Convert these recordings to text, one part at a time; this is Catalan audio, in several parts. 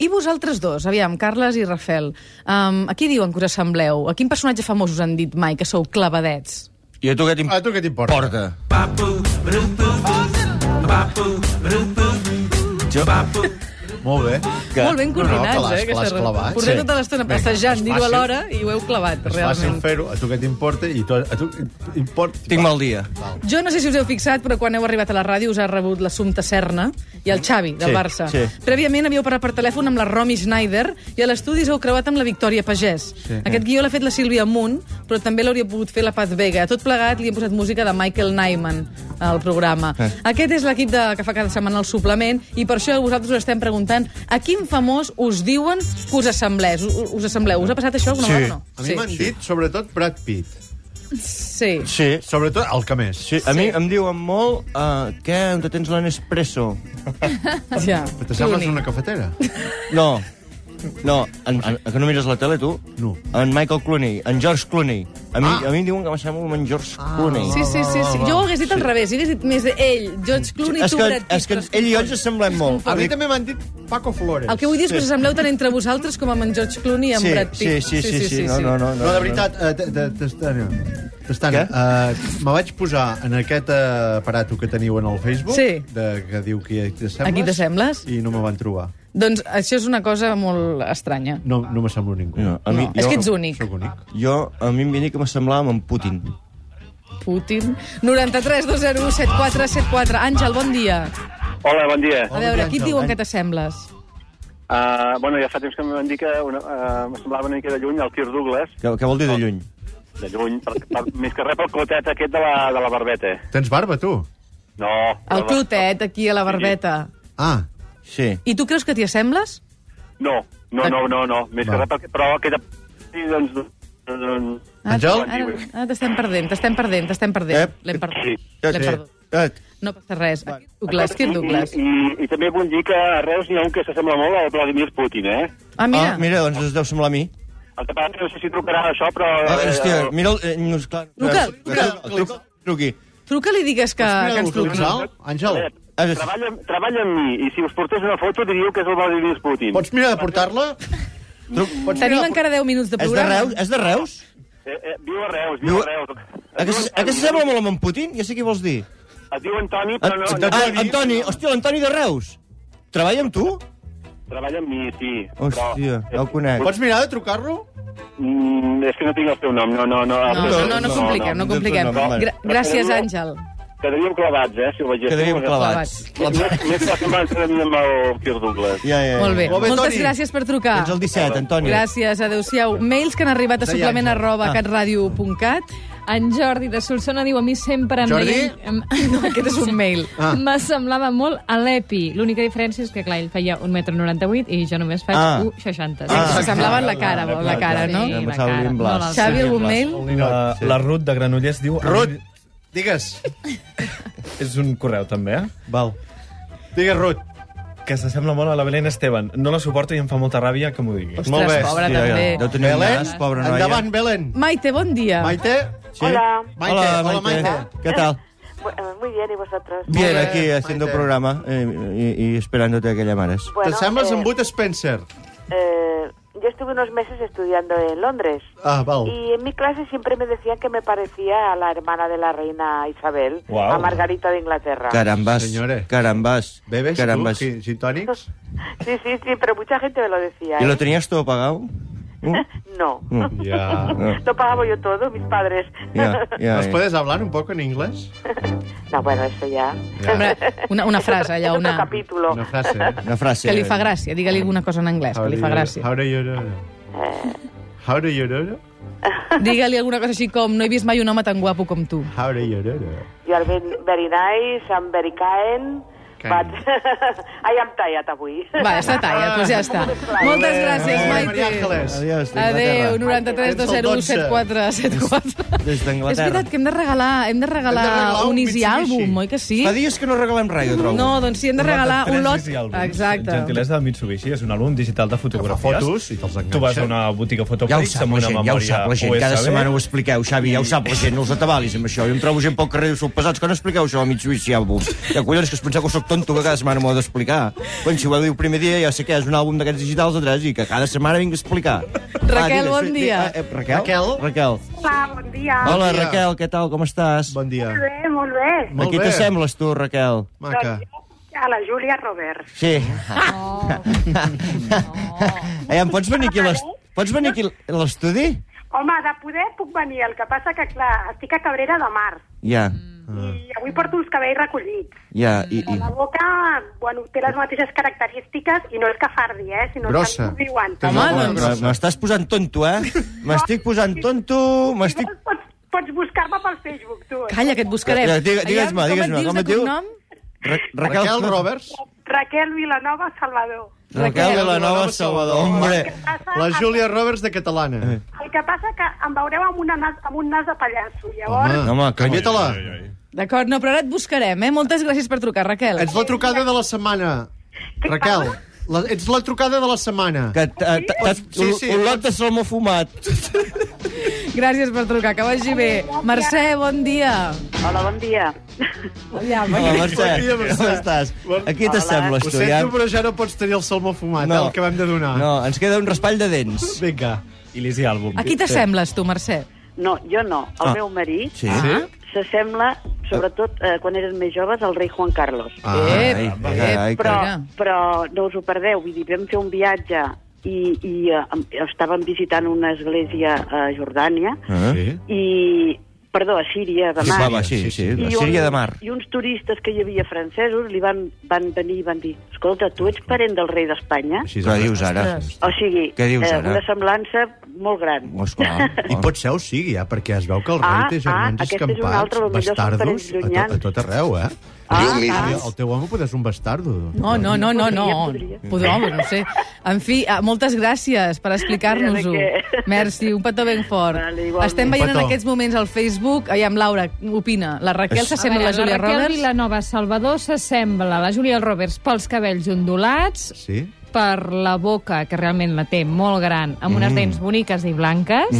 I vosaltres dos, aviam, Carles i Rafel, um, a qui diuen que us assembleu? A quin personatge famós us han dit mai que sou clavadets? I a tu què A tu què t'importa? t'importa? Jo... Molt bé. Que- Molt ben coordinats, No, no, que l'has- eh? aquesta l'has reunió. clavat, Porteu sí. tota l'estona Vinga, passejant, és dir-ho fàcil. alhora, i ho heu clavat, És fàcil realment. fer-ho, a tu què t'importa i tu, a tu importa. Tinc mal dia. Jo no sé si us heu fixat, però quan heu arribat a la ràdio us ha rebut l'Assumpte Serna i el Xavi, del Sí, Barça. sí. Prèviament havíeu parlat per telèfon amb la Romy Schneider i a l'estudi us heu creuat amb la Victòria Pagès. Sí. Aquest guió l'ha fet la Sílvia Munt, però també l'hauria pogut fer la Paz Vega. A Tot plegat li hem posat música de Michael Nyman al programa. Sí. Aquest és l'equip de, que fa cada setmana el suplement i per això vosaltres us estem preguntant a quin famós us diuen que us assembleu. Us, us, assembleu. us ha passat això alguna Sí. vegada o no? A mi m'han sí. dit, sobretot, Brad Pitt. Sí. Sí. Sobretot el que més. sí. A mi em diuen molt... Uh, què, on tens la Nespresso? Ja. T'assembles Clooney. una cafetera? No. No, en, en, que no mires la tele, tu? No. En Michael Clooney, en George Clooney. A mi, ah. a mi em diuen que m'assemblo amb en George ah. Clooney. Sí, sí, sí, sí. Jo ho hagués dit al revés. Hagués dit més ell, George Clooney, És tu, que, Brad Pitt. és que ell i jo ens assemblem molt. A mi també m'han dit Paco Flores. El que vull dir és que us assembleu tant entre vosaltres com amb en George Clooney i amb Sí, Brad sí, Pitt. sí, sí, sí, no, no, no, No, de veritat, eh, t- t- Tastana, Tastana, Què? uh, me vaig posar en aquest eh, aparato que teniu en el Facebook, Sí. de, que diu qui t'assembles, A qui t'assembles? i no me van trobar. Doncs això és una cosa molt estranya. No, no m'assemblo a ningú. No, a mi, No. És que ets únic. Sóc únic. Jo, a mi em venia que m'assemblava amb en Putin. Putin. 93 201 7474. Àngel, bon dia. Hola, bon dia. A veure, dia, qui et Àngel. diuen que t'assembles? Uh, bueno, ja fa temps que em van dir que una, uh, em semblava una mica de lluny el Kirk Douglas, Què, què vol dir de lluny? de lluny, per, per, més que res pel clotet aquest de la, de la barbeta. Tens barba, tu? No. El clotet, aquí, a la barbeta. Ah, Sí. I tu creus que t'hi assembles? No, no, no, no, no. Més Va. que res, perquè, però aquest... Sí, doncs, doncs, Ara- Àngel? Ah, Ara, ara t'estem perdent, t'estem perdent, t'estem Ep. perdent. L'hem perdut. L'hem Eh? Sí. perdut. Eh, No passa res. Aquí, Douglas, qui I, és Douglas? I, i, també vull dir que a Reus n'hi ha un que s'assembla molt al Vladimir Putin, eh? Ah, Mira. mira. Ah, mira, doncs es deu semblar a mi. El que passa és que no sé si trucarà això, però... Ah, eh, hòstia, el- mira el... Eh, no, és clar, Truca, truca. truca, truqui. Truca li digues que, Mira, que ens truqui. l'Àngel, Àngel, Eh, Ah, sí. Treballa, treballa amb mi, i si us portés una foto diríeu que és el Vladimir Putin. pots mirar de portar-la? Truc. Tenim encara 10 minuts de És de programa. Reus? És de Reus? Eh, eh, viu a Reus, viu, Viu- a Reus. A que, s- a que s'assembla molt amb en Putin? Ja sé què vols dir. Es diu Antoni, Ah, però no... no- Antoni, hòstia, l'Antoni de Reus. Treballa amb tu? Treballa amb mi, sí. Hòstia, però- no el conec. Pots mirar de trucar-lo? Mm, és que no tinc el seu nom, no, no, no. No, no, no, no compliquem, no no, compliquem. no, no. Gra- Gràcies, Àngel. Quedaríem clavats, eh, si ho veiéssim. Quedaríem clavats. Més, més que semblança de mi amb el Pierre Douglas. Ja, ja, ja. Molt bé. Molt bé, Moltes Toni. gràcies per trucar. Ets el Ah. 17, Antoni. Gràcies, adeu-siau. Mails que han arribat a Deia suplement Àngel. arroba Ah. catradio.cat. En Jordi de Solsona diu a mi sempre... em Jordi? deien- em- No, Aquest és un mail. Ah. M'assemblava molt a l'Epi. L'única diferència és que, clar, ell feia 1,98 m i jo només faig Ah. 1,60 Ah. S'assemblava en la cara, Ah, la cara, no? Sí, Em la pensava cara. en Blas. No, la- Xavi, algun mail? El La, ninot, sí. Eh, la Ruth de Granollers diu... Ruth, digues. És un correu, també, eh? Val. Digues, Ruth. Que s'assembla molt a la Belén Esteban. No la suporto i em fa molta ràbia que m'ho digui. Ostres, bé, pobra, Hòstia, ja, també. Deu tenir un Belén, nas, pobra noia. endavant, Belén. Maite, bon dia. Maite? Sí? Hola. Maite, Hola, Maite. Maite. ¿Qué tal? Eh, Muy bien, ¿y vosotros? Bien, bien, aquí haciendo Maite. programa eh, y, y esperándote a que llamaras. Bueno, T'assembles eh, amb Bud Spencer. eh, yo estuve unos meses estudiando en Londres Ah, Oh. val. y en mi clase siempre me decían que me parecía a la hermana de la reina Isabel, Guau. a Margarita de Inglaterra. Carambas, Señores. carambas, ¿Bebes carambas. tú gin, gin tònics? Sí, sí, sí, pero mucha gente me lo decía. ¿Y ¿eh? lo tenías todo pagado? ¿Mm? No, No. Ja. No. lo pagaba yo todo, mis padres. Ya, ya, ¿Nos ya. puedes hablar un poco en inglés? No, bueno, eso ya. Hombre, Una, una frase, allà, Es otro una... capítulo. Una frase, eh? Una frase. Que li fa gràcia. Digue-li alguna cosa en anglès, que li fa gràcia. How do you do? How do you do? Digue-li alguna cosa així com no he vist mai un home tan guapo com tu. How do you do? You are very, very nice, I'm very kind, Kind. but I am tired avui. Va, està tallat, doncs ja està. Moltes gràcies, Maria Maite. Ángeles. Adiós, de Adéu, 93 Inglaterra. 201 7474. Des d'Anglaterra. És veritat que hem de regalar, hem de regalar, Hem de regalar un un Easy Mitsubishi. àlbum, oi que sí? Fa dies que no regalem res, jo trobo. No, doncs sí, hem de regalar un lot... Exacte. Exacte. Gentilesa de Mitsubishi, és un àlbum digital de fotografies. fotos i te'ls enganxa. Tu vas a una botiga Ja ho Fotoprix sap amb la una gent, ja ho memòria sap la gent. Cada USB. setmana ho expliqueu, Xavi, ja ho sap la gent. No us atabalis amb això. Jo em trobo gent pel carrer i sou pesats. Quan expliqueu això a Mitsubishi Àlbum? Ja, collons, que us penseu que sóc tonto que cada setmana m'ho ha d'explicar. Quan si ho diu el primer dia ja sé que és un àlbum d'aquests digitals de tres i que cada setmana vinc a explicar. Raquel, digues, bon di- dia. ah, eh, Raquel? Raquel? Raquel. Hola, bon dia. Hola, dia. Raquel, què tal, com estàs? Bon dia. Molt bé, molt bé. Molt Aquí bé. t'assembles tu, Raquel. Maca. Doncs jo a la Júlia Robert. Sí. Eh, em pots venir aquí a l'est- Pots venir aquí a l'estudi? Home, de poder puc venir, el que passa que, clar, estic a Cabrera de Mar Ja, Ah. i avui porto els cabells recollits. ja. I, i... La boca, bueno, té les mateixes característiques i no és cafardi, eh? Sinó Grossa. Que ens ho diuen. Té Home, una bona doncs- Però grossa. M'estàs posant tonto, eh? M'estic posant tonto, Si m'estic... vols, pots, pots buscar-me pel Facebook, tu. eh? Calla, que et buscarem. Ja, digue- digues-me, Aviam, digues-me, Com com et dius et de diu? cognom? Ra Raquel Roberts, Raquel Vilanova Salvador. Raquel de la Nova Salvador, El hombre. que passa, la Júlia Roberts de Eh, catalana. el que passa que em veureu amb, una nas, amb un nas de pallasso, llavors... Home, home, que- canvia-te-la. D'acord, no, però ara et buscarem, eh? Moltes gràcies per trucar, Raquel. Ets la trucada de la setmana, Raquel. La, ets la trucada de la setmana. Que t- eh, t- t'has Sí, sí. un lot de salmó fumat. Gràcies per trucar, que vagi bé. Mercè, bon dia. Hola, bon dia. Aviam, Hola, Mercè, Bon dia, Mercè. com estàs? Bon- Aquí t'assembles, Ho tu, ja. sento, però ja no pots tenir el salmó fumat, eh, el que vam de donar. No, ens queda un raspall de dents. Vinga. I l'Easy Album. a qui t'assembles, tu, Mercè? No, jo no. El Ah. meu marit Sí. Ah. s'assembla, sobretot eh, quan eren més joves, al rei Juan Carlos. Ah, ep, ai, ep, ai, ai, Però, mira. però no us ho perdeu, vull dir, vam fer un viatge i, i eh, em- estàvem visitant una església a Jordània Eh? Sí. i, perdó, a Síria, de Sí, Mar. va, va, sí, sí, la Síria de Mar. I uns turistes que hi havia francesos li van, van venir i van dir escolta, tu ets parent del rei d'Espanya? Així és. Què dius ara? eh, O sigui, eh, Què dius ara? una semblança molt gran. Oh, esclar. I pot ser o sigui, eh? perquè es veu que el rei Ah, té germans ah, aquest és un escampats, altre, potser són bastardos, parents a, to, a llunyans. tot arreu, eh? Ah, ah, El teu home pot ser un bastardo. No, no, no, no, no. Podria, Podria, no ho sé. En fi, ah, moltes gràcies per explicar-nos-ho. De què. Merci, un petó ben fort. Vale, igualment. Estem veient en Un petó. aquests moments al Facebook... Ai, amb Laura, opina. La Raquel s'assembla a la Júlia Raquel Roberts? Vilanova Salvador s'assembla a la Júlia Roberts pels cabells ondulats, Sí? per la boca, que realment la té molt gran, amb Mm. unes dents boniques i blanques,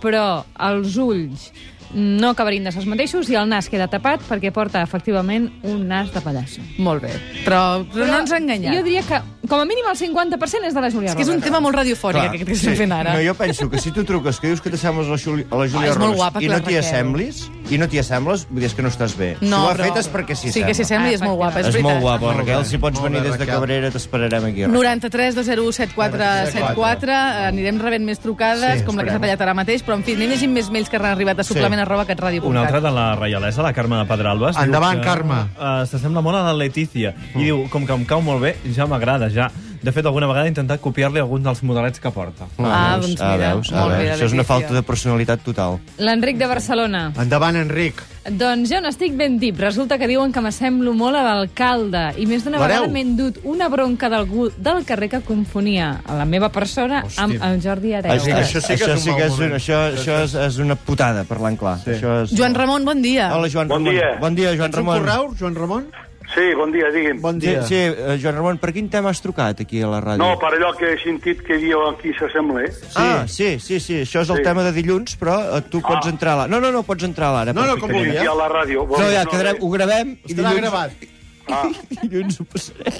però els ulls no acabarien de ser els mateixos i el nas queda tapat perquè porta, efectivament, un nas de pallasso. Molt bé. Però, però no ens ha enganyat. Jo diria que, com a mínim, el 50% és de la Júlia És que és un tema molt radiofònic, Clar, aquest que estem fent ara. No, jo penso que si tu truques que dius que t'assembles a la Juli- a la Júlia Ah, és molt Roberts guapa, i no clar, t'hi Raquel. assemblis, i no t'hi assembles, vull dir és que no estàs bé. si ho ha fet és perquè s'hi Sí que s'hi sembla i és molt guapa, és, És veritat. molt guapa, Molt Raquel. bé, Si pots molt venir bé, des de Raquel. Cabrera, t'esperarem aquí. Raquel. 93 201 7474 Anirem rebent més trucades, Sí, com la que s'ha esperem. tallat ara mateix, però en fi, anem llegint més mails que han arribat a suplement arroba catradio.cat. Una altra de la reialesa, la Carme de Pedralbes. diu Endavant, que, Carme. eh, S'assembla molt a la Letícia. Mm. I diu, com que em cau molt bé, ja m'agrada, ja. De fet, alguna vegada he intentat copiar-li alguns dels modelets que porta. Ah, doncs mira, Ah, veus, ah, molt bé, veus. la Això és una Letícia. falta de personalitat total. L'Enric de Barcelona. Endavant, Enric. Doncs jo n'estic ben tip. Resulta que diuen que m'assemblo molt a l'alcalde i més d'una L'hereu. vegada m'he endut una bronca d'algú del carrer que confonia a la meva persona Hòstia. amb el Jordi Areu. Això- això sí que és un mal moment. Això, això és, és una putada, parlant clar. Sí. Això és... Joan Ramon, bon dia. Hola, Joan Bon Ramon. dia. Bon dia, Joan Ets un Ramon. correu, Joan Ramon? Sí, bon dia, digui'm. Bon Sí, dia. sí, eh, Joan Ramon, per quin tema has trucat aquí a la ràdio? No, per allò que he sentit que diu a qui s'assembla, eh? Sí. Ah, sí, sí, sí, això és el Sí. tema de dilluns, però eh, tu pots Ah. entrar a la... No, no, no, pots entrar a l'ara. No, no, com Que perfectament. vulguis. aquí a la ràdio. No, ja, eh, quedarem, ho gravem i Estarà dilluns, gravat. dilluns ho passarem.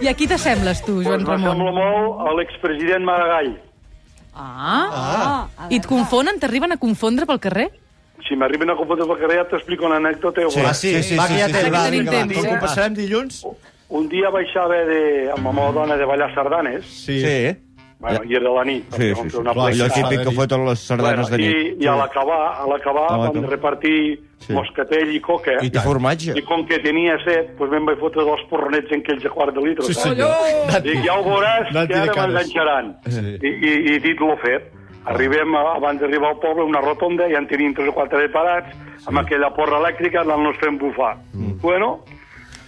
I a qui t'assembles tu, Joan Doncs m'assembla Ramon? molt a l'expresident Maragall. Ah. ah. I et confonen? T'arriben a confondre pel carrer? Si m'arriben a confondre pel carrer, ja t'explico una anècdota. Sí. igual. Va, sí, va, que ja té. sí, va, sí, vinga, sí, va. sí. Com que ho passarem dilluns? Oh, Un dia baixava de, amb la meva dona de ballar sardanes, Sí. Sí, bueno, i era la nit, sí, perquè vam sí. fer una Clar, Allò allò flexa. típic típic que que foten les sardanes de i, nit. i a l'acabar a l'acabar A vam l'acabar. repartir Sí. moscatell i coca I tant. I formatge. i com que tenia set doncs me'n vaig fotre dos porronets en aquells de quart de litre Sí, senyor. dic ja ho veuràs No et que ara diré cares. m'enganxaran Sí. I, i, i dit l'ho fet arribem a, abans d'arribar al poble a una rotonda i en tenim tres o quatre de parats amb aquella porra elèctrica anant-nos fent bufar Mm. bueno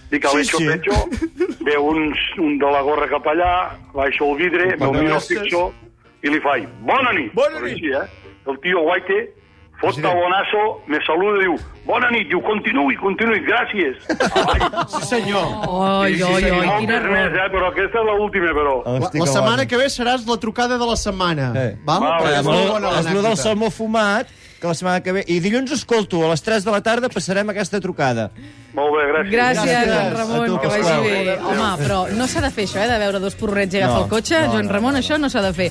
dic a Sí, l'Eixo sí. Pecho veu un, un de la gorra cap allà baixo el vidre, Quan me'l miro al veus- fixó i li faig bona nit Bona Però nit. així, eh? El tio guaite fot tabonasso, me saluda i diu bona nit, diu continuï, continuï, gràcies. Sí, senyor. Oi, oi, oi, moltes quin més, error. eh? Però aquesta és l'última, però. La, la setmana que ve seràs la trucada de la setmana. Eh. Val? Val, Perquè És és molt bona lo del l'anècdota. salmó fumat, que la setmana que ve... I dilluns escolto, a les 3 de la tarda passarem aquesta trucada. Molt bé, gràcies. Gràcies, Joan A Ramon, tu, que vagi Pasqual. bé. Home, però no s'ha de fer això, eh, de veure dos porrets i agafar No, el cotxe. no, Joan no, Ramon, això no s'ha de fer.